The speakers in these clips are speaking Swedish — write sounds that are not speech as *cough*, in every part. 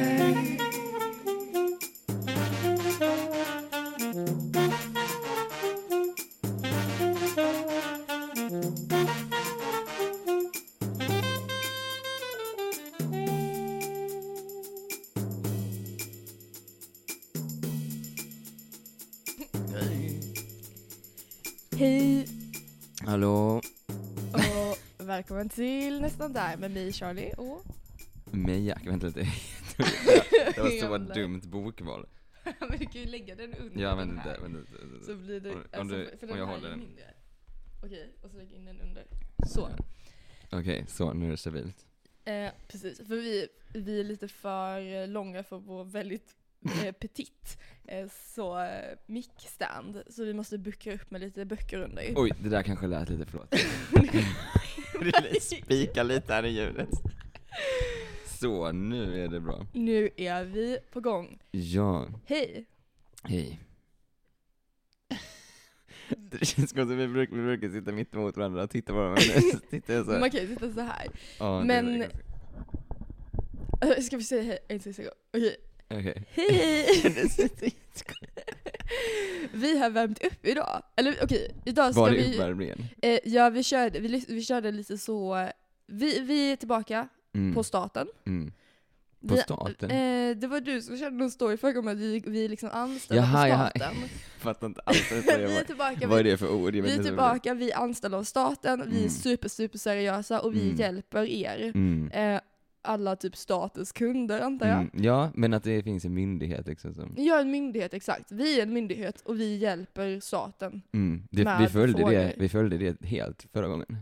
stunder Hej Hallå, och välkommen till Nästan där med mig Charlie och mig Jack, vänta lite. *laughs* Det var så Jävlar. ett dumt bokval. *laughs* Men du kan ju lägga den under Ja, den vänta här. lite, vänta lite. Så blir det, alltså, Om- om du- för- för om den jag här håller är den. mindre. Okej, och så lägg in den under. Så. Okej, så nu är det stabilt. Eh, precis, för vi, vi är lite för eh, långa för vår väldigt eh, petit eh, så eh, mickstand. Så vi måste buckra upp med lite böcker under. Oj, det där kanske lät *laughs* lite, förlåt. det spikar lite här i ljudet. Så, nu är det bra. Nu är vi på gång. Ja, Hej! *laughs* hej. Det känns som att vi brukar, vi brukar sitta mitt emot varandra och titta *laughs* på varandra. *laughs* men nu tittar jag så här. Man kan ju sitta så här. Ja, det är men- ganska- Eh, Ska vi säga hej en sista gång? Okej. Okej. Hej! *laughs* Det sitter *laughs* vi har värmt upp idag. Eller okej, idag ska Var det vi... uppvärmningen? Eh, ja, vi körde, vi, lys- vi körde lite så... eh, Vi, vi är tillbaka Mm, på staten. mm. På Vi- staten? Eh, det var du som körde någon story förra gången om att vi, vi är liksom anställda Jaha, på jaha. *laughs* staten. Fattar inte alls vad jag *laughs* säger. vi är tillbaka, Vad är vi, det för ord? Jag vet vi är inte. tillbaka, vi är anställda av staten, vi är Mm. super, super seriösa och vi Mm. hjälper er. Mm. Eh, alla typ statens kunder antar jag. Mm. Ja, men att det finns en myndighet liksom som... Ja, en myndighet exakt. Vi är en myndighet och vi hjälper staten. Mm. Det, vi, Med följde det, frågor. vi följde det helt förra gången.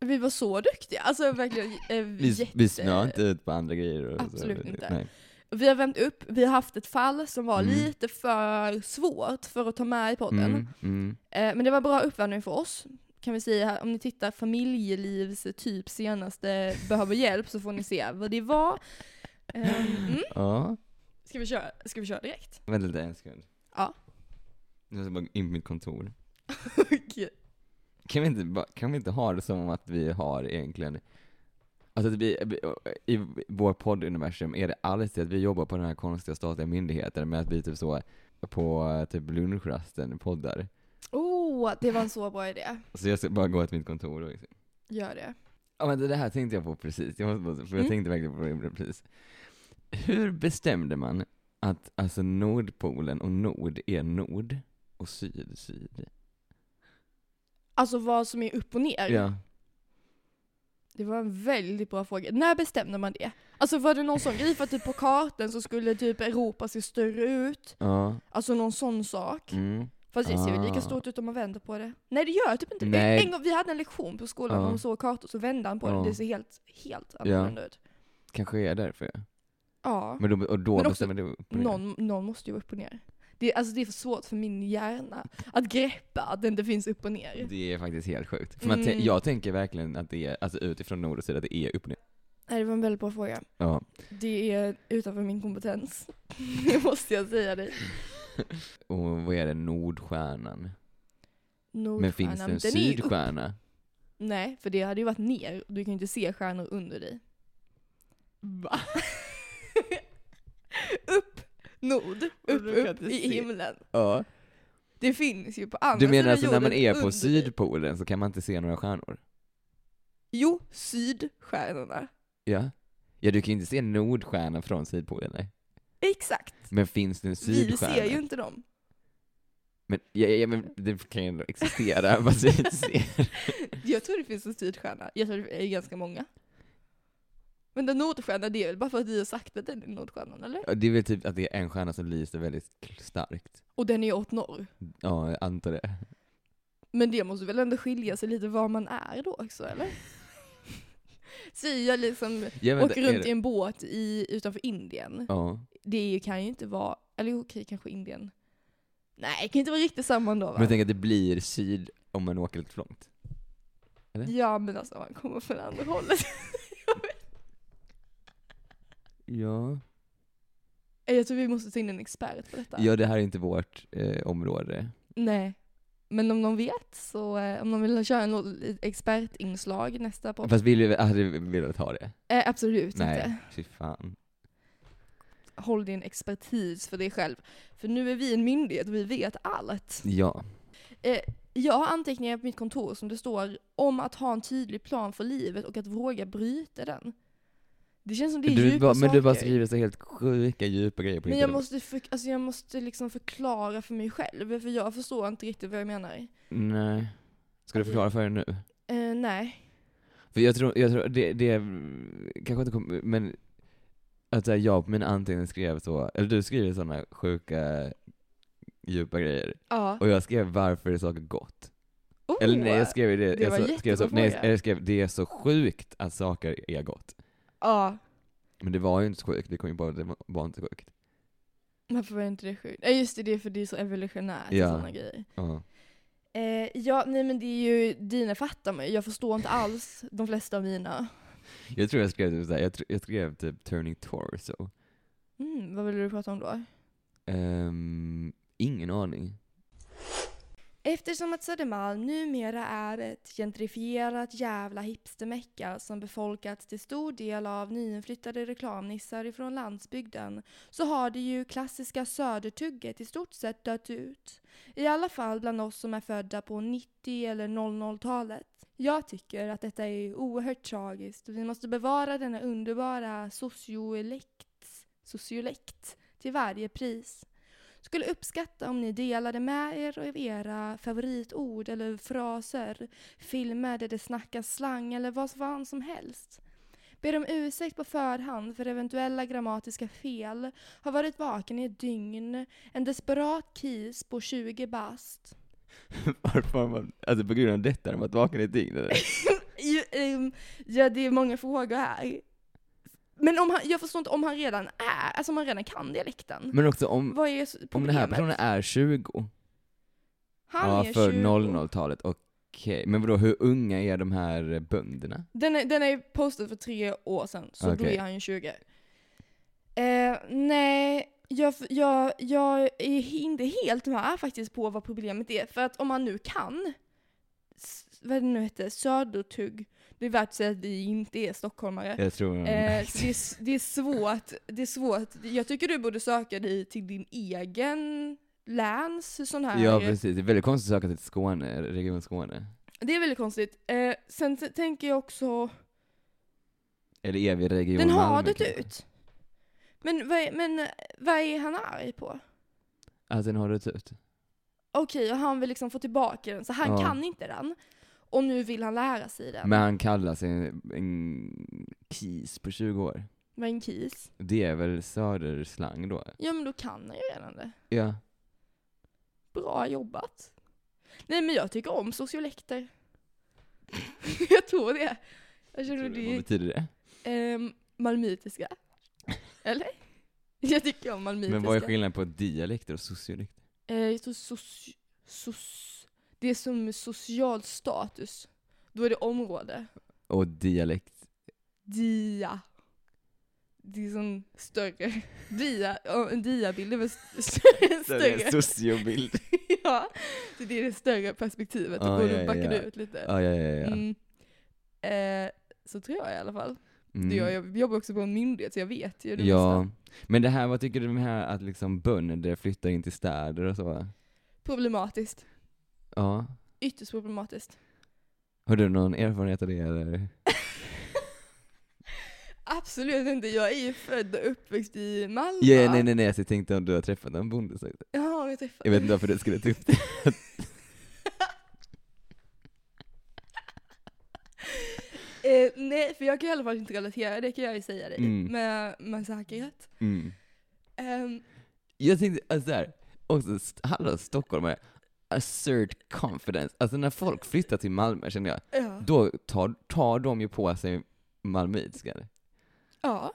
Vi var så duktiga, alltså verkligen. Eh, Vi, jätte... vi snöade inte ut på andra grejer. Och Absolut så. inte. Nej. Vi har vänt upp, vi har haft ett fall som var Mm. lite för svårt för att ta med i podden. Mm. Mm. Eh, men det var bra uppvärmning för oss. Kan vi säga här, om ni tittar familjelivs typ senaste behöver hjälp så får ni se vad det var. Eh, *gasps* mm. Ja, ska, vi köra, ska vi köra *laughs* direkt? vänta lite en sekund. Ja. Jag ska bara in på mitt kontor. Okej. Kan vi, inte, bara- kan vi inte ha det som att vi har egentligen... Alltså att vi, i vår podduniversum är det alltid att vi jobbar på den här konstiga statliga myndigheten med att vi typ så på typ lunchrasten poddar. Åh, det var en så bra idé. Så jag ska bara gå till mitt kontor och liksom. Gör det. Ja men det här tänkte jag på precis, jag måste bara, för jag Mm. tänkte verkligen på det precis. Hur bestämde man att alltså Nordpolen och Nord är Nord och Syd Syd? Alltså vad som är upp och ner. Ja. Det var en väldigt bra fråga. När bestämde man det? Alltså var det någon sån grej för att typ på kartan så skulle typ Europa se större ut? Ja. Alltså någon sån sak? Mm. Fast det ser ju lika Ah. stort ut om man vänder på det. Nej det gör typ inte det. Nej. Ah. En gång, vi hade en lektion på skolan Ja. om så kartor så vände han på Ja. det. Det ser helt, helt annorlunda ut. Kanske är därför ja. Ja. Men då, och då Men också bestämmer du upp och ner. Någon, någon måste ju vara upp och ner. Det, alltså det är för svårt för min hjärna att greppa att det inte finns upp och ner. Det är faktiskt helt sjukt. För man tän- Mm. jag tänker verkligen att det är, alltså utifrån Nord och Syd, att det är upp och ner. Nej det var en väldigt bra fråga. Ja. Det är utanför min kompetens. *laughs* det måste jag säga dig. Och vad är det, Nordstjärnan? Men Nordstjärnan, finns det en den är ju upp. Sydstjärna? Nej, för det hade ju varit ner. Du kan ju inte se stjärnor under dig. Va? *laughs* upp, nord, upp, du kan upp inte i se. himlen. Ja. Det finns ju på andra Du menar sidan alltså när man jorden är på under dig. Sydpolen så kan man inte se några stjärnor? Jo, sydstjärnorna. Ja. Ja, du kan ju inte se Nordstjärnan från Sydpolen, nej. Exakt. Men finns det en Vi Sydstjärna? ser ju inte dem. Men, ja, ja, men det kan ju ändå existera, *laughs* fast vi inte ser. Jag tror det finns en sydstjärna. Jag tror det är ganska många. Men den nordstjärnan, det är väl bara för att vi har sagt att den är nordstjärnan, eller? Ja, Det är väl typ att det är en stjärna som lyser väldigt starkt. Och den är åt norr. Ja, jag antar det. Men det måste väl ändå skilja sig lite var man är då också, *laughs* eller? Säger jag liksom Ja, men åker det- är runt det- i en båt i, utanför Indien. Ja. Det är ju- kan ju inte vara, eller jo, okej, kanske Indien. Nej, det kan inte vara riktigt samma ändå va? Men jag tänker att det blir syd om man åker lite för långt. Ja, men alltså man kommer från andra hållet. *laughs* Ja. jag tror vi måste ta in en expert på detta. Ja, det här är inte vårt eh, område. Nej. Men om någon vet, så eh, om någon vill köra en lo- expertinslag nästa podd. Fast vill du, hade du velat ha det? Eh, absolut inte. Nej, fy fan. Håll din expertis för dig själv. För nu är vi en myndighet och vi vet allt. Ja. Jag har anteckningar på mitt kontor som det står om att ha en tydlig plan för livet och att våga bryta den. Det känns som det är Du, djupa bara, saker. men du bara skriver så helt sjuka, djupa grejer på Men din jag telefon. måste, för, alltså jag måste liksom förklara för mig själv, för jag förstår inte riktigt vad jag menar. Nej. Ska du förklara för dig nu? Eh, nej. För jag tror, jag tror det, det kanske inte kommer, men att så här, jag på mina anteckningar skrev så, eller du skriver sådana sjuka, djupa grejer. Ja. Och jag skrev varför är saker gott? Oh, Eller nej, jag skrev ju det, det jag var så, skrev så, jättebra nej, fråga. jag skrev det är så sjukt att saker är gott. Ja. Men det var ju inte så sjukt, vi kom ju på att det var inte sjukt. Varför var inte det sjukt? Ja just det, det är för det är så evolutionärt Ja. och sådana grejer. Ja. Eh, ja, nej men det är ju, dina fattar mig. Jag förstår inte alls de flesta av mina. Jag tror jag skrev typ såhär, jag, tr- jag skrev typ turning torso. Mm, vad ville du prata om då? Um, ingen aning. *laughs* Eftersom att Södermalm numera är ett gentrifierat jävla hipstermecka som befolkats till stor del av nyinflyttade reklamnissar ifrån landsbygden så har det ju klassiska södertugget i stort sett dött ut. I alla fall bland oss som är födda på 90 eller 00-talet. Jag tycker att detta är oerhört tragiskt och vi måste bevara denna underbara sociolekt, sociolekt till varje pris. Skulle uppskatta om ni delade med er av era favoritord eller fraser, filmer där det snackas slang eller vad fan som helst. Ber om ursäkt på förhand för eventuella grammatiska fel. Har varit vaken i ett dygn. En desperat kis på 20 bast. Varför har man, alltså på grund av detta, de har varit vaken i ett dygn eller? Ju- ehm, Ja, det är många frågor här. Men om han, jag förstår inte om han redan är, alltså om han redan kan dialekten. Men också om, Vad är s- problemet? Om den här personen är 20? han ja, är för 20. 00-talet, okej. Men vadå, hur unga är de här bönderna? Den är, den är postad för tre år sedan, så då Okej. är han ju 20. Eh, nej, jag, jag, jag är inte helt med faktiskt på vad problemet är. För att om man nu kan, s- vad det nu heter, södertugg. Det är värt att säga att vi inte är stockholmare. Jag tror de... Eh, det, är, s- det är svårt. Det är svårt. Jag tycker du borde söka dig till din egen läns sån här Ja precis, det är väldigt konstigt att söka till Skåne, Region Skåne. Det är väldigt konstigt. Eh, sen t- tänker jag också... Eller är vi Region Den har Malmö, dött kanske? ut. Men vad, är, men eh, vad är han arg på? Att den har dött ut? Okej, och han vill liksom få tillbaka den, så han Ja. kan inte den. Och nu vill han lära sig den. Men han kallar sig en, en kis på 20 år. Med en kis. Det är väl söderslang då? Ja, men då kan han ju redan det. Ja. Bra jobbat. Nej, men jag tycker om sociolekter. *laughs* jag tror det. Jag känner Vad det betyder det? är eh, malmöitiska. Eller? Jag tycker om malmöitiska. Men vad är skillnaden på dialekter och sociolekter? Eh, jag tror soci- soc- det är som social status. Då är det område. Och dialekt? Dia. Det är som större. Dia, ja, en diabild är väl *laughs* st- större. större. Sociobild. *laughs* ja, så det är det större perspektivet. Ja, och då Ah, ja, backar ja. du ut lite. Ja, ja, ja. ja. Mm. Eh, så tror jag i alla fall. Mm. Det gör jag, jag jobbar också på en myndighet så jag vet ju det Ja, mesta. men det här, vad tycker du om det här att liksom bönder flyttar in till städer och så? Problematiskt. Ja. Ytterst problematiskt. Har du någon erfarenhet av det eller? Absolut inte, jag är ju född och uppväxt i Malmö. Ja, nej nej nej, jag tänkte om du har träffat någon bonde. Så. Ja, jag träffade. Jag vet inte varför du skulle ta *laughs* upp det. Eh, nej, för jag kan i alla fall inte relatera, det kan jag ju säga dig. Mm. Med, med säkerhet. Mm. Ehm, Jag tänkte, alltså där, också, st- hallå stockholmare, assert confidence. Alltså när folk flyttar till Malmö känner jag, ja. då tar, tar de ju på sig malmöitiska. ja.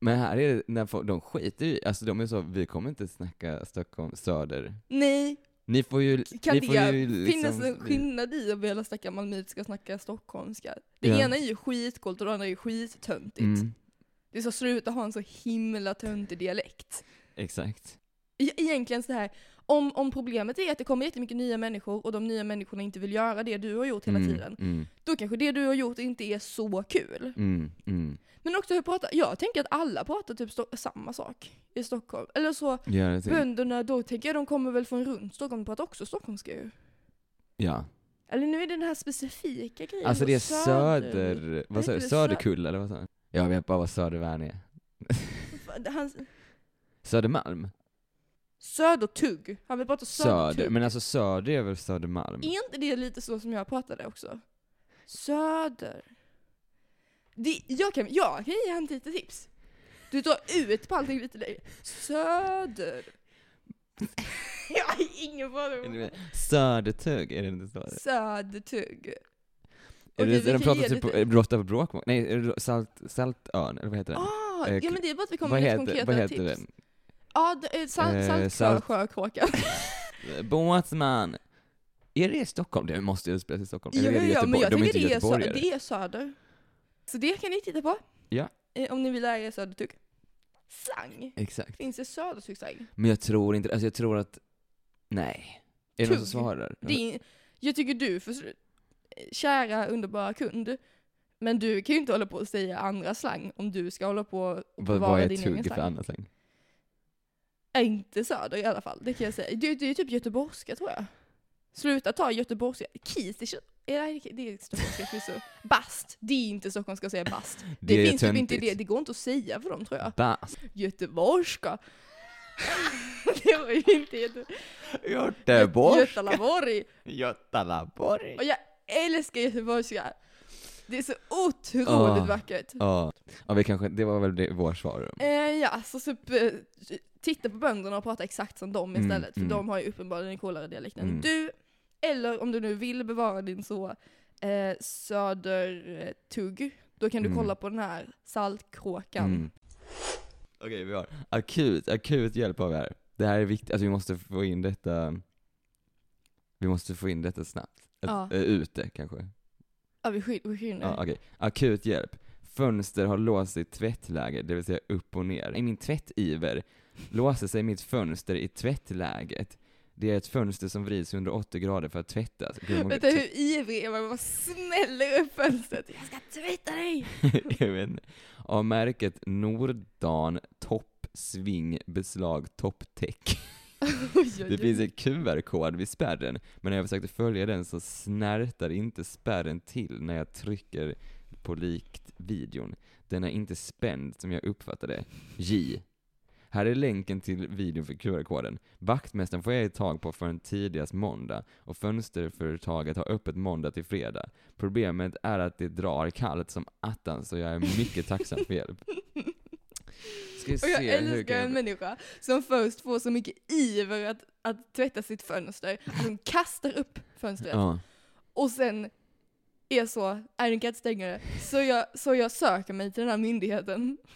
Men här är det, när folk, de skiter i, alltså de är så, vi kommer inte snacka Stockholm söder. Nej, Ni får ju, kan ni det får ju finnas liksom, en skillnad i att vilja snacka malmöitiska och snacka stockholmska? Det Ja. ena är ju skitcoolt och det andra är ju skittöntigt. Mm, Det är så sluta ha en så himla töntig dialekt. exakt. E- Egentligen så här, Om, om problemet är att det kommer jättemycket nya människor och de nya människorna inte vill göra det du har gjort hela mm, tiden, Mm, då kanske det du har gjort inte är så kul. mm, mm. Men också hur pratar, jag tänker att alla pratar typ sto- samma sak i Stockholm. Eller så, Gör det till. bönderna då tänker jag de kommer väl från runt Stockholm, de pratar också stockholmska ju. Ja. Eller nu är det den här specifika grejen. Alltså på det är söder... Är Vad sa inte du? det Söderkull eller vad sa du? Jag vet bara vad Södervärn är. *laughs* Han, Södermalm? södertugg. Han vill prata södertugg. Söder. Men alltså söder är väl Södermalm? Är inte det lite så som jag pratade också? Söder. Det, jag, kan, jag kan ge han lite tips. Du tar ut på allting lite längre. Söder. *laughs* jag har ingen Är aning. det- Södertugg, är det inte så? Södertugg. Är Okej, vi det, är kan de pratar ge typ, lite- är det Råtta på bråkmål? Nej, är det salt, Saltörn, eller vad heter den? Ah, Eh, ja men det är bara att vi kommer vad med lite konkreta heter, vad heter tips. den? Ja, det är sal- Eh, saltkör- salt- sjökråkan. Båtsman! Är det i Stockholm? Det måste ju utspelas i Stockholm. Jo, Eller är det jo, jo, men jag Göteborg? De är tycker inte det är, så, göteborgare. det är söder. Så det kan ni titta på. Ja. Eh, Om ni vill lära er södertugg. Sang. Exakt. Finns det södertuggssang? Men jag tror inte, alltså jag tror att, nej. Är det någon som Tugg. svarar? Det är- Jag tycker du, för, kära underbara kund, men du kan ju inte hålla på och säga andra slang om du ska hålla på och Vad, bevara vad är din egen tugg för slang. annat slang? Äh, Inte söder i alla fall, det kan jag säga. Det, det är typ göteborgska tror jag. Sluta ta göteborgska. Kis, det, är- nej, det är stockholmska förvisso. Bast, det är inte stockholmska att säga bast. Det, är finns typ inte i det, töntigt. det går inte att säga för dem tror jag. Bas. Göteborgska. *laughs* det var ju inte jätte... Göteborg. Götalaborg. Götalaborg. Och jag älskar göteborgska. Det är så otroligt Ah. vackert. Ja, ja vi kanske, det var väl det, vår svar. Eh, ja, så typ, eh, titta på bönderna och prata exakt som dem Mm, istället. för mm. de har ju uppenbarligen en coolare dialekt än Mm. du. Eller om du nu vill bevara din så eh, södertugg, då kan du Mm. kolla på den här saltkråkan. Mm. Okej, vi har akut, akut hjälp av er. Det här är viktigt, alltså vi måste få in detta, vi måste få in detta snabbt. Ett, Ja. eh, ute kanske. Ja, vi skyller. Vi skyller. Ja, okej. Akut hjälp. Fönster har låst i tvättläge, det vill säga upp och ner. I min tvättiver låser sig mitt fönster i tvättläget. Det är ett fönster som vrids 180 grader för att tvättas. Gud, vad många Vänta hur ivrig jag var, jag bara smäller upp fönstret. Jag ska tvätta dig! *laughs* *laughs* jag vet inte. Av märket Nordan Topp Sving Beslag Topptäck. Oj, oj, Det oj. finns en QR-kod vid spärren, men när jag försökte följa den så snärtar inte spärren till när jag trycker på likt videon. Den är inte spänd som jag uppfattade. J. Här är länken till videon för QR-koden. Vaktmästaren får jag ett tag på förrän tidigast måndag och fönsterföretaget har öppet måndag till fredag. Problemet är att det drar kallt som attan så jag är mycket tacksam för hjälp. Ska vi *laughs* Och jag se hur älskar kan en jag... människa som först får så mycket iver att, att tvätta sitt fönster, att hon kastar upp fönstret Ja. och sen är så, är den kan inte stänga det. Så jag, så jag söker mig till den här myndigheten. *laughs*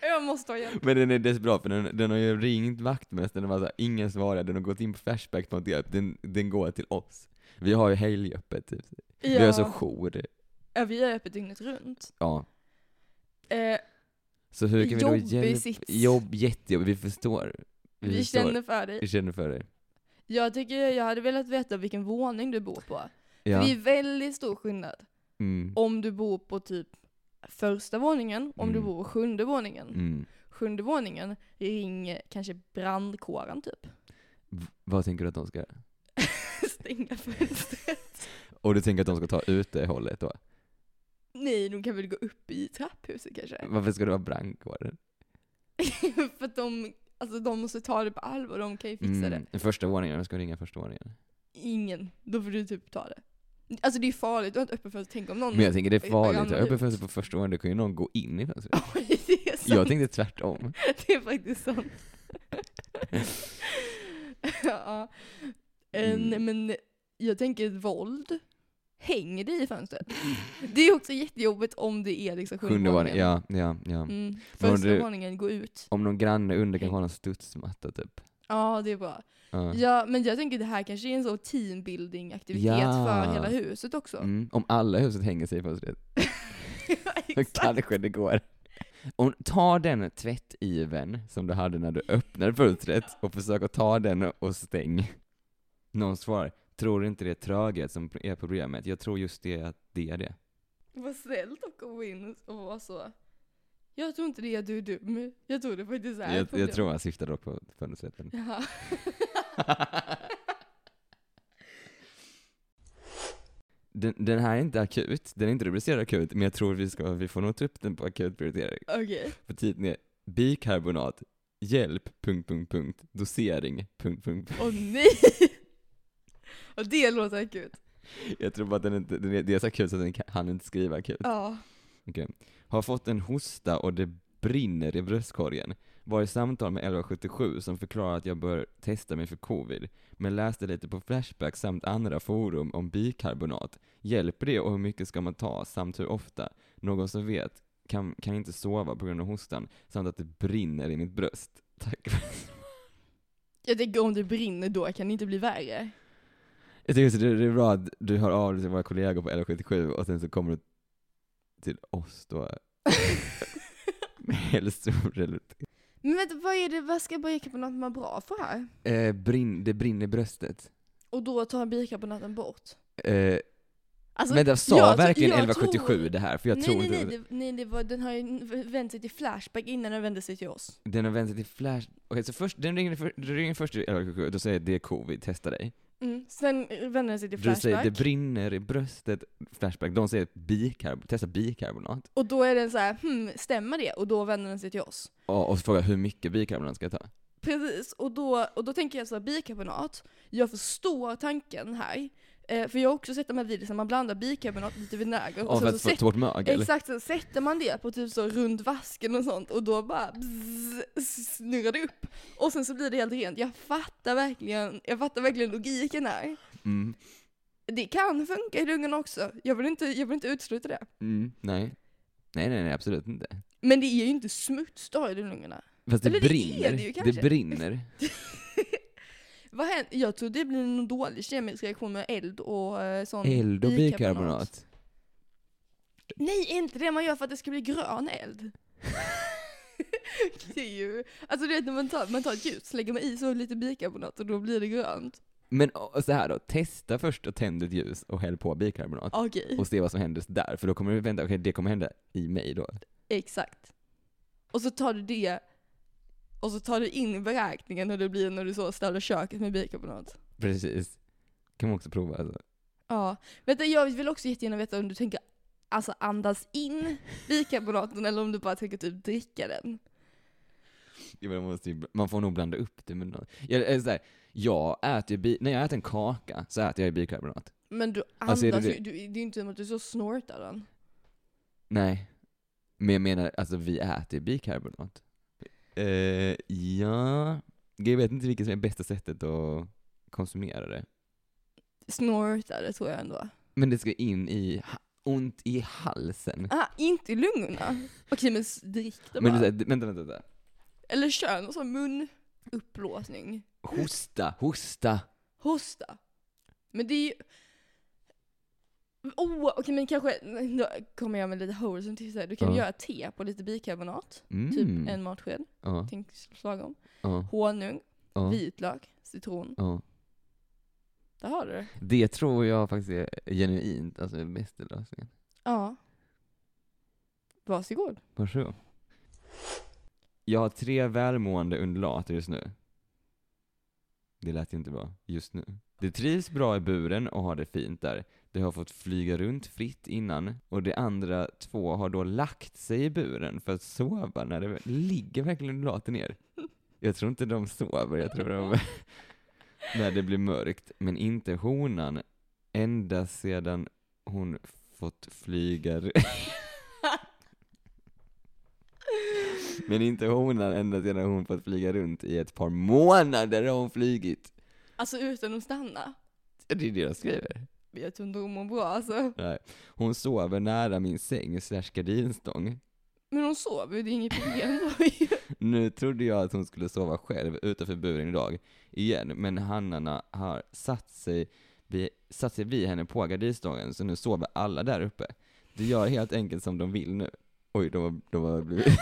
Jag måste ha hjälp. Men den är desperat för den, den har ju ringt vaktmästaren och bara såhär, ingen svarar, den har gått in på Flashback på något hjälp, den, den går till oss. Vi har ju helgöppet typ. Vi har så jour. ja, vi är öppet dygnet runt. Ja. Eh, Så hur kan vi då Jobbig hjälpa? sits. Jobb, jättejobb, vi förstår. vi förstår. känner för dig. Vi känner för dig. Jag tycker jag hade velat veta vilken våning du bor på. Ja. För det är väldigt stor skillnad Mm. om du bor på typ första våningen, om du Mm. bor på sjunde våningen. Mm. sjunde våningen, ring kanske brandkåren typ. *laughs* V- Vad tänker du att de ska göra? Stänga fönstret. Och du tänker att de ska ta utehållet då? Nej, de kan väl gå upp i trapphuset kanske. *laughs* Varför ska det vara brandkåren? För att de, alltså, de måste ta det på allvar, de kan ju fixa det. Den Mm. Första våningen, de ska ringa första våningen. Ingen, då får du typ ta det. Alltså det är farligt, du har inte öppet fönster, tänk om någon... *laughs* Men jag tänker det är Vad- vad farligt, gamla jag öppet ut. fönstret på första våningen, då kan ju någon gå in i fönstret. *laughs* Oj, det är sant. Jag tänkte tvärtom. *laughs* Det är faktiskt sant. ja. Eh, Mm. Nej men jag tänker våld. Häng dig i *laughs* fönstret. Det är också jättejobbigt om det är liksom sjunde Sjunde våningen, våningen. ja, ja, ja. Mm. Men om Första du- våningen, gå ut. Om någon granne under kanske har någon studsmatta typ. Ja, det är bra. Ja. Ja, men jag tänker det här kanske är en sån teambuilding-aktivitet Ja. för hela huset också. Mm. Om alla i huset hänger sig i fönstret, *laughs* Ja, Exakt. kanske det går. Om, ta den tvättiven som du hade när du öppnade fönstret och försök att ta den och stäng. Någon svarar, tror inte det är tröghet som är problemet? Jag tror just det att det är det. Vad snällt att gå in och vara så. Jag tror inte det, du är dum. Jag tror det faktiskt är Jag, jag problem." tror han syftar då på *laughs* fönstret. *laughs* men- Jaha. Den, den här är inte akut, den är inte rubricerad akut, men jag tror vi, ska, vi får nog ta upp den på akut prioritering. Okej. För titeln är bikarbonat, hjälp, punkt, punkt, punkt, dosering, punkt, punkt, punkt. Åh nej! Och det låter akut. Jag tror bara att den inte, den är, det är så akut så att den kan, han inte skriva akut. Ja. Okej. Har fått en hosta och det brinner i bröstkorgen. Var i samtal med 1177 som förklarar att jag bör testa mig för covid, men läste lite på Flashback samt andra forum om bikarbonat. Hjälper det och hur mycket ska man ta samt hur ofta? Någon som vet kan, kan inte sova på grund av hostan samt att det brinner i mitt bröst. *laughs* Tack. Jag tänker om det brinner då kan det inte bli värre. Jag tycker så det, det är bra att du hör av dig till våra kollegor på 1177 och sen så kommer du till oss då *laughs* med hälsorelaterade *laughs* Men vänta, vad är det, vad ska bikarbonat vara bra för här? Eh, brinn, det brinner i bröstet. Och då tar bikarbonaten bort? Eh, Alltså, men det sa jag tro- verkligen jag 1177 tror- det här, för jag nej, tror nej, nej, inte... det, nej, det var, den har ju vänt sig till Flashback innan den vände sig till oss. Den har vänt sig till Flash... Okej, så först, den ringer, för, den ringer först till 1177, då säger det är covid, testa dig. Mm. Sen vände den sig till Du säger Flashback. det brinner i bröstet, Flashback. De säger bikarb, testa bikarbonat. Och då är den så här, hmm, stämmer det? Och då vänder den sig till oss. Ja, och så frågar jag hur mycket bikarbonat ska jag ta? Precis, och då, och då tänker jag så här, bikarbonat, jag förstår tanken här. Eh, för jag har också sett de här videorna, man blandar bikarbonat med lite vinäger och Ja, för sen så att få- sätter, ta bort mögel. exakt, sen sätter man det på typ så runt vasken och sånt och då bara bzz, snurrar det upp. Och sen så blir det helt rent. Jag fattar verkligen, jag fattar verkligen logiken här. Mm. Det kan funka i lungorna också, jag vill inte, jag vill inte utesluta det. Mm. Nej. Nej, nej, nej, absolut inte. Men det är ju inte smuts du har i lungorna. Fast det Eller det är brinner. det ju det kanske. brinner. Vad händer? Jag tror det blir en dålig kemisk reaktion med eld och eh, sån Eld och bikarbonat. Nej, inte det man gör för att det ska bli grön eld. *laughs* det är ju, alltså du vet när man tar, man tar ett ljus, lägger man i så lite bikarbonat och då blir det grönt. Men och, så här då, testa först att tända ett ljus och häll på bikarbonat. Okej, och se vad som händer där, för då kommer du vänta, okej det kommer hända i mig då. exakt. Och så tar du det, och så tar du in i beräkningen hur det blir när du så ställer köket med bikarbonat. Precis. Kan man också prova alltså. Ja, vänta jag vill också jättegärna veta om du tänker alltså andas in bikarbonaten eller om du bara tänker typ dricka den. Ja, men Man, måste ju, man får nog blanda upp det med något. Jag, eller så här, jag äter ju bi- när jag äter en kaka så äter jag ju bikarbonat. Men du andas Alltså, är det ju, det? du, det är ju inte som att du så snortar den. Nej. Men jag menar, alltså vi äter ju bikarbonat. Eh, ja. Jag vet inte vilket som är bästa sättet att konsumera det. Snortar det tror jag ändå. Men det ska in i, ha- ont i halsen. Ah, inte i lungorna? Okej men s- drick det Men bara. det är så här, vänta, vänta, vänta. Eller kör någon sån munupplåsning. Hosta, hosta. Hosta. Men det är ju... Oh, okej men kanske, då kommer jag med lite wholesome tips här. Du kan Ja. göra te på lite bikarbonat. Mm. Typ en matsked, Ja, tänk slagom. ja, Honung, ja. vitlök, citron. Ja. Där har du det. Det tror jag faktiskt är genuint, alltså den bästa lösningen. Ja. Varsågod. *laughs* Varsågod. Jag har tre välmående undulater just nu. Det lät ju inte bra. Just nu. De trivs bra i buren och har det fint där. De har fått flyga runt fritt innan och de andra två har då lagt sig i buren för att sova när det ligger verkligen undulater ner. Jag tror inte de sover, jag tror de... *laughs* när det blir mörkt, men inte honan. Ända sedan hon fått flyga... ru- Men inte honan ända sedan hon fått flyga runt i ett par månader har hon flygit. Alltså utan att stanna. Ja, Det är det de skriver. Jag tror inte hon mår bra alltså. Nej. Hon sover nära min säng slash gardinstång. Men hon sover ju, det är inget *laughs* problem. Nu trodde jag att hon skulle sova själv utanför buren idag igen, men hannarna har satt sig, vid, satt sig vid henne på gardinstången, så nu sover alla där uppe. De gör helt enkelt som de vill nu. Oj, de har, de har blivit... *laughs*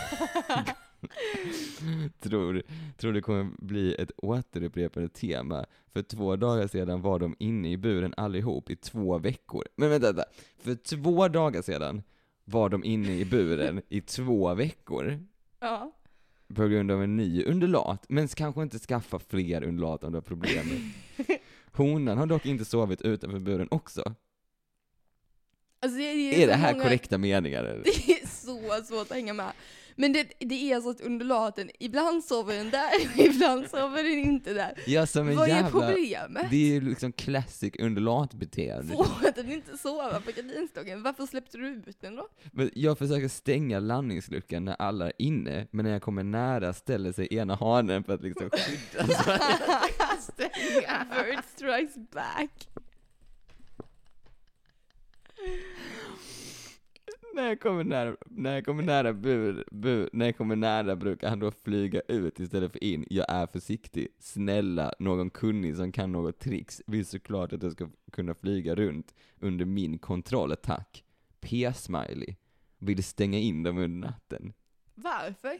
tror, tror det kommer bli ett återupprepande tema. För två dagar sedan var de inne i buren allihop i två veckor. Men vänta, vänta. För två dagar sedan var de inne i buren i två veckor Ja. på grund av en ny undulat, men kanske inte skaffa fler undulat om du har problem. med. *laughs* Honan har dock inte sovit utanför buren också. Alltså, det är, Är det så här många- korrekta meningar? *laughs* eller? Det är så svårt att hänga med. Men det, det är så att undulaten, ibland sover den där, *laughs* ibland sover den inte där. Ja, som en Vad är jävla... problemet? Det är ju liksom classic undulatbeteende. Får att den inte sova på gardinstången? Varför släppte du ut *laughs* den då? Men jag försöker stänga landningsluckan när alla är inne, men när jag kommer nära ställer sig ena hanen för att liksom skydda sig. *laughs* Bird strikes back. när, jag kommer nära, när jag kommer nära bur, bur, när jag kommer nära brukar han då flyga ut istället för in. Jag är försiktig. Snälla, någon kunnig som kan något tricks vill såklart att jag ska kunna flyga runt under min kontroll, tack. P-smiley. Vill stänga in dem under natten. Varför?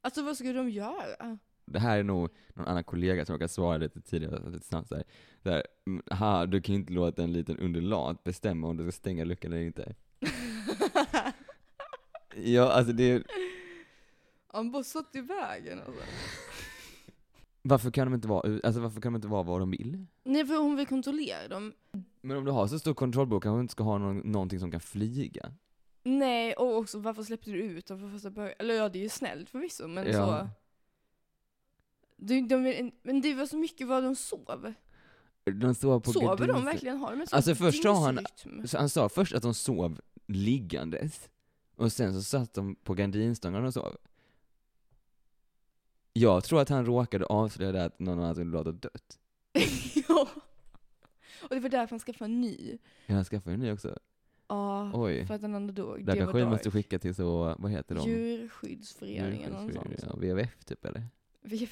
Alltså vad skulle de göra? *laughs* Det här är nog någon annan kollega som råkade svara lite tidigare, lite snabbt såhär. Där, mm, ha, du kan ju inte låta en liten undulat bestämma om du ska stänga luckan eller inte. Ja, alltså det är, Han bara satt i vägen alltså. varför kan de inte vara, u- alltså varför kan de inte vara vad de vill? Nej för hon vill kontrollera dem. Men om du har så stor kontrollbok kanske du inte ska ha någon, någonting som kan flyga? Nej och också varför släppte du ut dem från första början? Eller ja det är ju snällt förvisso men Ja. så. De, de, men det var så mycket vad de sov. De sov på Sover de gardinstå- verkligen? Har de en sån Alltså, först sa han- dygnsrytm? Så han sa först att de sov liggandes, och sen så satt de på gardinstångarna och sov. Jag tror att han råkade avslöja det att någon annan undulat har dött. *laughs* ja. Och det var därför han skaffade en ny. Ja, han skaffade en ny också. Ja, Oj. för att den andra dog. Det här Det kanske vi var måste dark. skicka till så, vad heter de? Djurskyddsföreningen eller något sånt. Djurskyddsföreningen, ja, WWF typ eller? Vi,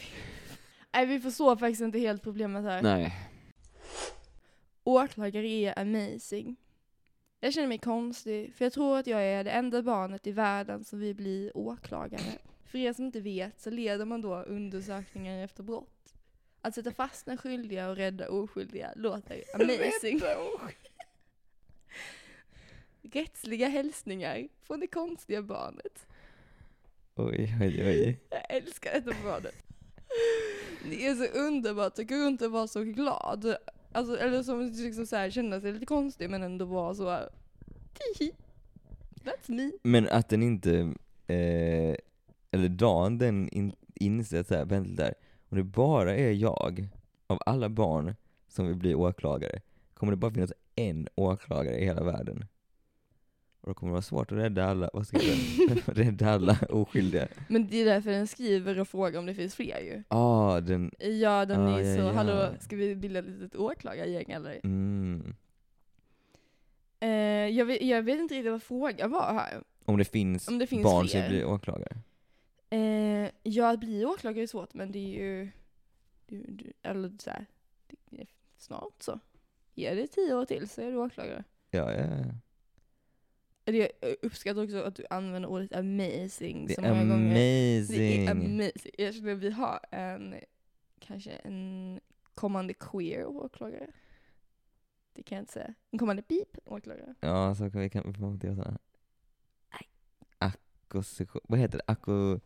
nej, vi förstår faktiskt inte helt problemet här. Nej. Åklagare är amazing. Jag känner mig konstig, för jag tror att jag är det enda barnet i världen som vill bli åklagare. För er som inte vet så leder man då undersökningar efter brott. Att sätta fast den skyldiga och rädda oskyldiga låter amazing. Rättsliga hälsningar från det konstiga barnet. Oj, oj, oj. Jag älskar detta området. Det är så underbart att gå runt och vara så glad. Alltså, eller som liksom så här, känna sig lite konstig men ändå vara så här, "Tihi, That's me. Men att den inte, eh, eller Dan den in, inser att så här, vänta där, om det bara är jag av alla barn som vill bli åklagare, kommer det bara finnas en åklagare i hela världen. Och då kommer det vara svårt att rädda alla, vad ska jag säga? *laughs* rädda alla oskyldiga. Men det är därför den skriver och frågar om det finns fler ju. Ah, den, Ja, den Ah, är ja, så, ja. hallå, ska vi bilda ett litet åklagargäng eller? mm. Eh, jag, vet, jag vet inte riktigt vad frågan var här. Om det finns, Om det finns barn som fler. vill bli åklagare. Eh, ja, att bli åklagare är svårt men det är ju, det, är ju- det, eller så här, det är snart så. Ge det tio år till så är du åklagare. Ja, ja, ja. Det, jag uppskattar också att du använder ordet amazing Det så är många gånger. Det är amazing. amazing. Jag känner att vi har en, kanske en kommande queer åklagare. Det kan jag inte säga. En kommande beep åklagare. Ja, så kan vi kan vi får inte göra sådana. Akkusition, vad heter det? Akku...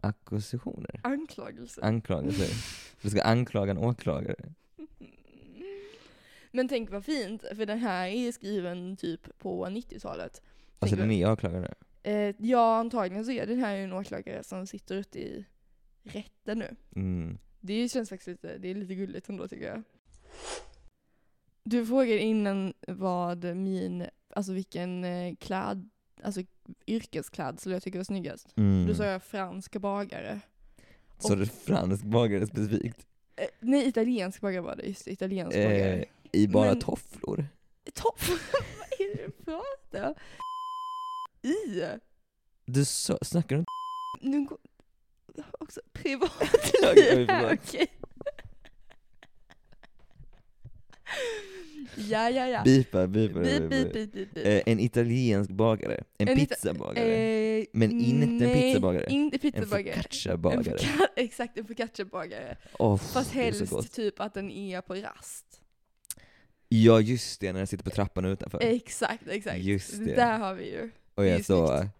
Akkusitioner? Anklagelse. Anklagelser. Du ska anklaga en åklagare. *laughs* Men tänk vad fint, för den här är skriven typ på 90-talet. Alltså Tänk den är åklagare nu. Eh, ja, antagligen så är den här ju en åklagare som sitter ute i rätten nu. Mm. Det känns faktiskt lite, det är lite gulligt ändå tycker jag. Du frågade innan vad min, alltså vilken eh, kläd, alltså yrkesklädsel jag tycker var snyggast. Mm. Då sa jag fransk bagare. Så det är fransk bagare specifikt? Eh, nej, italiensk bagare var det, just det, italiensk bagare. Eh, I bara Men- tofflor? Topp! *laughs* vad är det du pratar om? I? Du så, snackar du inte Nu går också *laughs* Okej, *laughs* privatliv förlåt. Okej. Ja, ja, ja. Bipa, bipa, Bip, bip, bipa. bip, bip, bip. Eh, En italiensk bagare. En, En ita- pizzabagare. Eh, Men inte en nej, pizzabagare. inte en pizzabagare. En focacciabagare. foca- *laughs* Exakt, en focacciabagare. Åh, Fast det är så helst gott. typ att den är på rast. Ja just det, när jag sitter på trappan utanför. Exakt, exakt. Just det. Där har vi ju. och det är jag ju så... snyggt.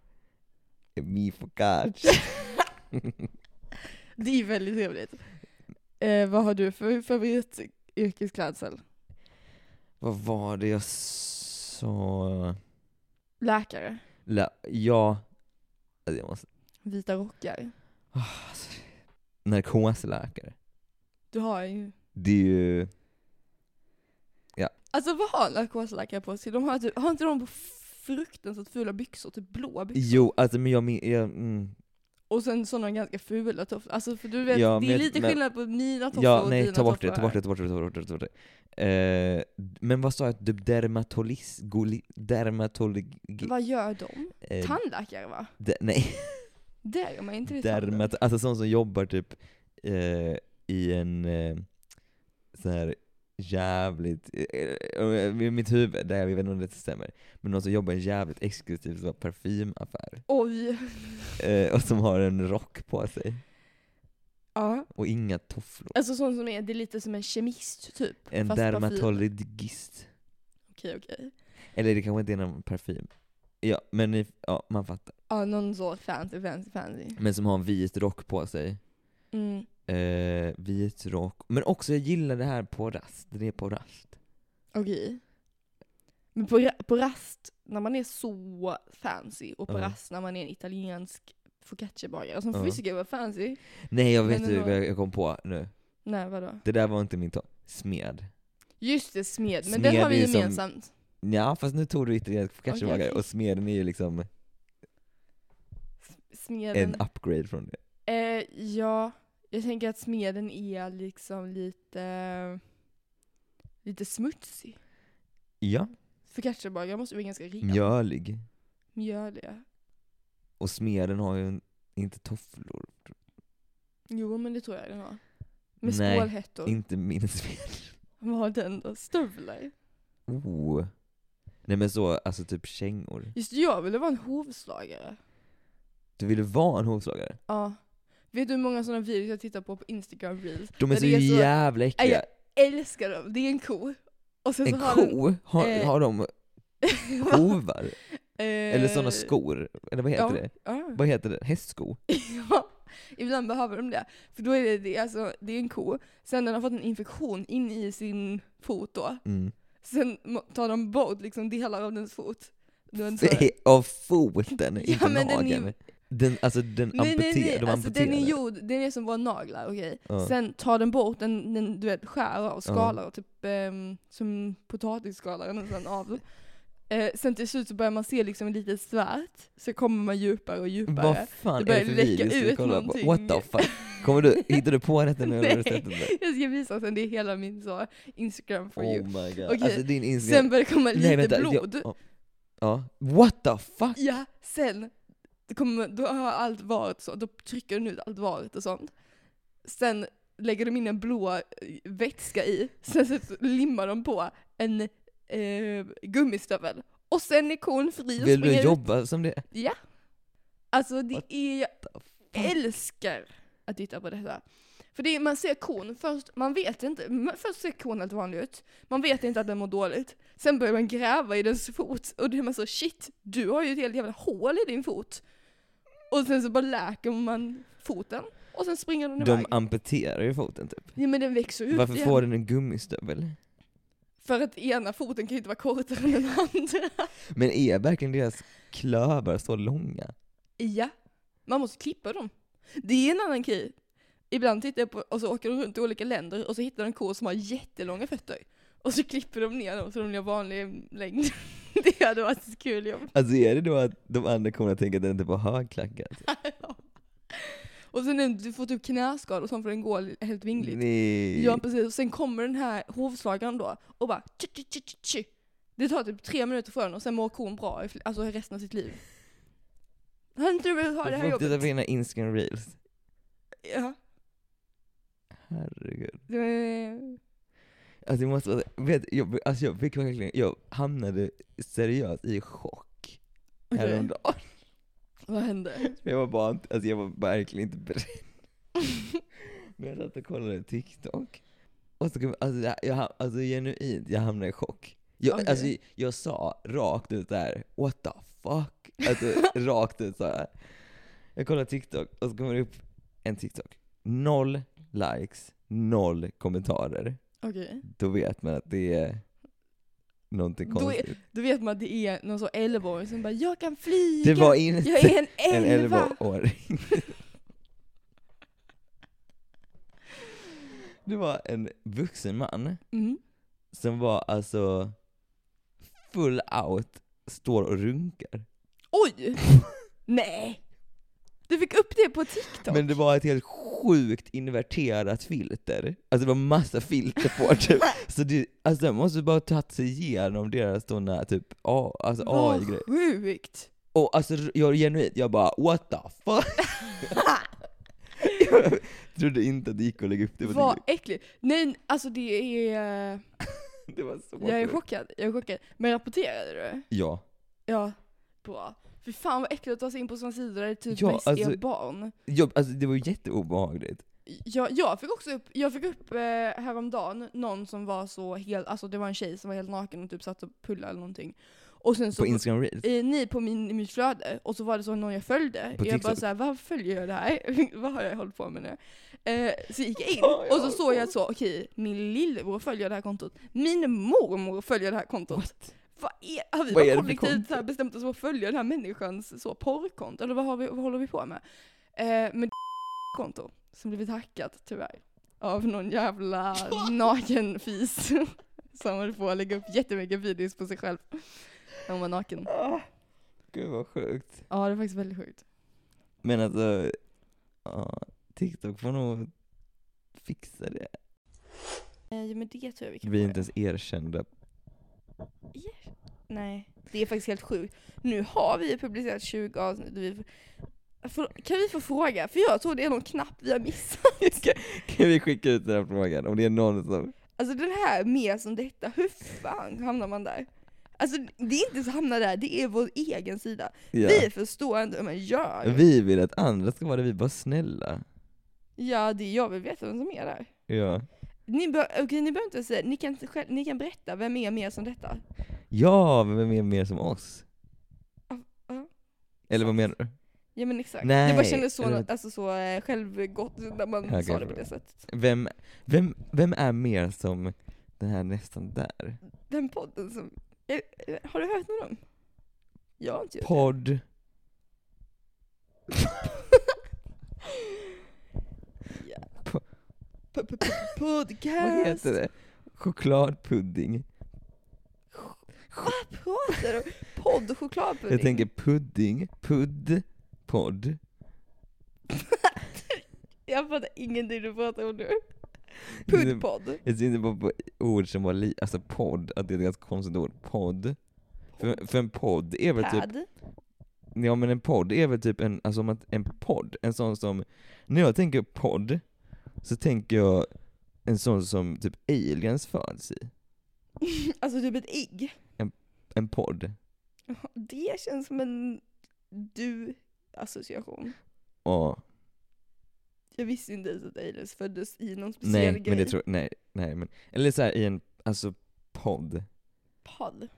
eh, Mi focaccia. *laughs* Det är väldigt trevligt. Eh, vad har du för favorit yrkesklädsel? Vad var det jag sa? Läkare. La, ja... Alltså, jag måste... Vita rockar. Alltså, narkosläkare. Du har ju... Det är ju... Alltså vad har narkosläkare på sig? De har, typ, har inte de på fruktansvärt fula byxor? Typ blå byxor? Jo, alltså men jag min- jag, mm, Och sen sådana ganska fula tofflor. Alltså för du vet, Ja, det men är jag- lite men- skillnad på mina tofflor Ja, och nej dina ta bort det, tofflor ta bort här. det, ta bort det, ta bort det, ta bort det. Eh, men vad sa jag? Typ Dermatolis... Goli, dermatologi... Vad gör de? eh, Tandläkare va? de, nej. Där är man inte det samma. Dermat, alltså sån som jobbar typ eh, i en eh, så här jävligt, eh, eh, i mitt huvud, där jag vet inte om det stämmer, men någon som jobbar i en jävligt exklusiv så här parfymaffär Oj! *laughs* eh, och som har en rock på sig Ja, och inga tofflor. alltså sånt som är, det är lite som en kemist typ. En fast parfym. dermatologist. Okej okej. Eller det kanske inte är någon parfym. Ja, men ni, ja, man fattar. Ja, någon så fancy, fancy, fancy. Men som har en vit rock på sig. Mm. Eh, vit rock. Men också, jag gillar det här på rast. Det är på rast. Okej. Men på, ra- på rast, när man är så fancy, och på Ja. rast när man är en italiensk focacciabagare som Ja. fysiker var fancy. Nej, jag Men vet ju ändå. vad jag kom på nu. Nej vadå? Det där var inte min topp. Smed. Just det, smed. Men Smed den har är vi ju som- gemensamt. Ja, fast nu tog du italiensk focacciabagare Okej. och smeden är ju liksom Smeden. en upgrade från det. Eh, ja, jag tänker att smeden är liksom lite, lite smutsig. Ja, Focacciabagare måste vara ganska ren. mjölig. Mjöliga. Och smeden har ju en, inte tofflor. Jo, men det tror jag den har. Med Nej, skålhättor. Inte min *laughs* smed. Vad har den då? Stövlar? Oh. Nej men så, alltså typ kängor. Just det, jag ville vara en hovslagare. Du ville vara en hovslagare. Ja. Vet du hur många sådana videos jag tittar på på Instagram reels? De är Men så, det är så- jävla Aj, äckliga. Älskar dem! Det är en ko. Och sen En så har ko? Har, eh, *laughs* har de *laughs* den... hovar? *laughs* Eh, Eller sådana skor? Eller vad heter ja, det? Ja. *laughs* Vad heter det? Hästsko? Ja, ibland behöver de det. För då är det, det, är alltså, det är en ko, sen den har fått en infektion in i sin fot då. Mm. Sen må- tar de bort liksom delar av dens fot. Då är *laughs* den så- Av foten, Ja, inte men den är- nageln. Den, alltså den Nej nej nej, amputerade, de alltså, den är amputerade. gjord, den är som våra naglar, okej. Ja. Sen tar den bort den, den du vet, skär av, skalar och typ ehm, som potatisskalar den sen av. Eh, sen till slut så börjar man se liksom lite svart, så kommer man djupare och djupare. Vad fan Det är det börjar för läcka videos du ut kollar på? någonting. What the fuck? Kommer du, hittar du på detta nu eller har du *laughs* sett det? där? Jag ska visa sen, det är hela min så, Instagram for Oh you. my god. Okej, Alltså din Instagram... Sen börjar det komma lite blod. Jag, ja. ja. What the fuck? Ja, sen det kommer, då har allt varit så, då trycker den ut allt varit och sånt. Sen lägger de in en blå eh, vätska i, *laughs* sen så limmar de på en eh, gummistövel. Och sen är kon fri och Vill du springer ut. jobba som det? Alltså det What är, jag the fuck? älskar att titta på detta. För det är, man ser kon först, man vet inte, man- först ser kon helt vanlig ut, man vet inte att den mår dåligt. Sen börjar man gräva i dens fot och det är man så shit, du har ju ett helt jävla hål i din fot. Och sen så bara läker man foten och sen springer den De iväg. amputerar ju foten typ. Ja men den växer ut Varför igen. får den en gummistövel? För att ena foten kan ju inte vara kortare än den andra. Men är verkligen deras klövar så långa? Ja, man måste klippa dem. Det är en annan grej. Ibland tittar jag på, och så åker de runt i olika länder och så hittar de kor som har jättelånga fötter. Och så klipper de ner dem så de blir vanlig längd. *laughs* Det hade varit ett kul jobb. Alltså är det då att de andra kommer att tänka att den inte var högklackat? och sen när du får typ knäskador och sånt för den går helt vingligt. Nej. Ja precis, och sen kommer den här hovslagaren då och bara tju, tju, tju, tju, tju. Det tar typ tre minuter för den och sen mår kon bra i fl- alltså resten av sitt liv. Hade inte du velat ha det här Du får titta på jobbet? dina Instagram reels. Ja. Herregud. Det- Alltså jag måste, vet, jag, alltså jag fick verkligen, jag hamnade seriöst i chock Okej. häromdagen. Vad hände? Jag var bara, inte- alltså jag var verkligen *laughs* inte beredd. Men jag satt och kollade TikTok. Och så kom, alltså, jag, jag, alltså genuint, jag hamnade i chock. Jag, Okej. alltså, jag sa rakt ut där, what the fuck? Alltså *laughs* rakt ut såhär. Jag kollade TikTok och så kommer det upp en TikTok. Noll likes, noll kommentarer. Okej. Då vet man att det är någonting Då är- konstigt. Då vet man att det är någon så 11 som bara 'Jag kan flyga! det var inte jag är en *laughs* en elva. 11-åring. *laughs* Det var en vuxen man Mm. som var alltså full out, står och runkar. *laughs* Oj! Nej! Du fick upp det på TikTok? Men det var ett helt sjukt inverterat filter. Alltså det var massa filter på typ. Så det, alltså de måste bara ha tagit sig igenom deras sådana typ A- alltså AI-grejer. Vad sjukt! Och alltså jag genuint, jag bara what the fuck? *laughs* jag trodde inte att det gick att lägga upp det på Vad TikTok. äckligt! Nej, alltså det är... eh, Det var så Jag är sjukt. chockad, jag är chockad. Men rapporterade du? Ja. Ja. Bra. Fy fan vad äckligt att ta sig in på sådana sidor där det typ Ja, mest alltså- är barn. Jag, alltså det var ju jätteobehagligt. Jag, jag fick också upp, jag fick upp eh, häromdagen någon som var så helt, alltså det var en tjej som var helt naken och typ satt och pullade eller någonting. Och sen så På Instagram Reels. eh, ni på min, i mitt flöde, och så var det så någon jag följde. På jag bara TikTok. såhär, varför följer jag det här? *laughs* Vad har jag hållit på med nu? Eh, så gick jag in, Vad har och jag så hållit såg på jag att så, okej, min lillebror följer det här kontot. Min mormor följer det här kontot. Vad är, har vi Vad är bara det för kollektivt konto? så här bestämt oss för att följa den här människans så porrkonto? Eller vad, har vi, vad håller vi på med? Eh, men *laughs* det är konto som blivit hackat tyvärr. Av någon *laughs* jävla nakenfis. *laughs* som höll på att lägga upp jättemycket videos på sig själv. När hon var naken. Ah, Gud vad sjukt. Ja, det är faktiskt väldigt sjukt. Men alltså, ja, TikTok får nog fixa det. Eh, Ja, men det tror jag vi kan Vi är få inte ens erkända. göra. Nej, det är faktiskt helt sjukt. Nu har vi ju publicerat 20 avsnitt. och Vi får, kan vi få fråga? För jag tror det är någon knapp vi har *laughs* missat. Kan vi skicka ut den här frågan? Om det är någon som... Alltså den här mer som detta, hur fan hamnar man där? Alltså det är inte så hamna där, det är vår egen sida. Ja. Vi förstår inte hur man gör. Vi vill att andra ska vara det, vi är bara snälla. Ja, det jag vill veta vem som är där. Ja. Ni, bör, okej, ni behöver inte säga, ni kan, själv, ni kan berätta, vem är mer som detta? Ja, men vem är mer som oss? Ja, ja. Eller vad menar du? Ja men exakt. Nej, det bara kändes så, det var- alltså, så eh, självgott när man Okej, sa det på bra. det sättet. Vem, vem, vem är mer som den här nästan där? Den podden som... eh, eh, Har du hört någon om? Jag har inte gjort det. Podd. Ja. Po- Po- po- po- Podcast! *laughs* Vad heter det? Chokladpudding. Vad pratar du om? Podd och chokladpudding? Jag tänker pudding, pudd, podd. *laughs* Jag fattar ingenting du pratar om nu. Puddpodd. Jag tänkte bara på ord som var li, alltså podd, att det är ett ganska konstigt ord. Podd. För, för en podd är väl typ, Pad. *laughs* ja men en podd är väl typ en, alltså om att- en podd, en sån som, när jag tänker podd, så tänker jag en sån som typ aliens föds i. Alltså typ ett ägg. En podd. Det känns som en du-association. Ja. Jag visste inte ens att aliens föddes i någon speciell Nej, grej. men det tror nej, nej men, eller så här i en, alltså podd. Podd.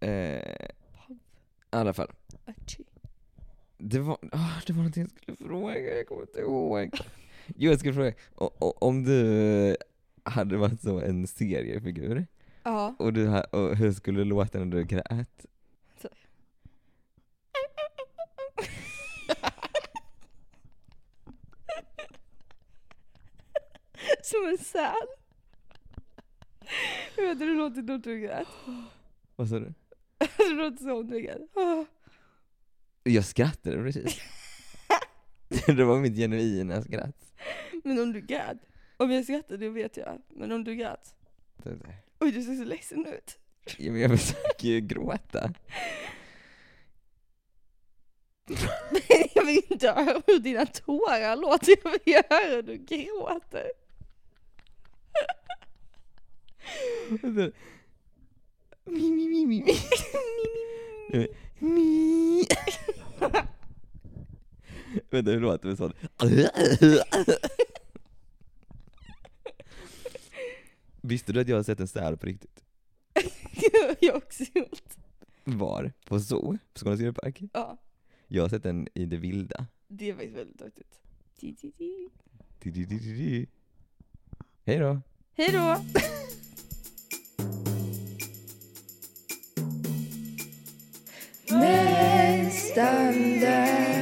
Eh, I Podd. alla fall. Achi. Det var, ah, det var någonting jag skulle fråga, jag kommer inte ihåg. Jo, jag skulle fråga, o- o- om du hade varit så en seriefigur, Ja. och, du, ha- och hur skulle det låta när du grät? *laughs* Som en säl. Jag vet hur det låter när du grät. *laughs* Vad sa du? Det låter som du grät. Ah. Jag skrattade precis. det var mitt genuina skratt. Men om du grät. Om jag skrattar det vet jag. Men om du grät. Oj du ser så ledsen ut. *laughs* Ja, men jag försöker ju gråta. jag vill inte höra hur dina tårar låter. Jag vill höra hur du gråter. Alltså, Mi, mi, mi, mi, mi. Nej, men, mi. Vänta, hur låter det? Sån. Visste du att jag har sett en säl på riktigt? Det har *laughs* jag också gjort. Var? På zoo? På Skånes djurpark? Ja, Jag har sett den i det vilda. det var faktiskt väldigt häftigt. Ti, ti, ti. Di, di, di, di, di. Hej då! Hej då! Nästan där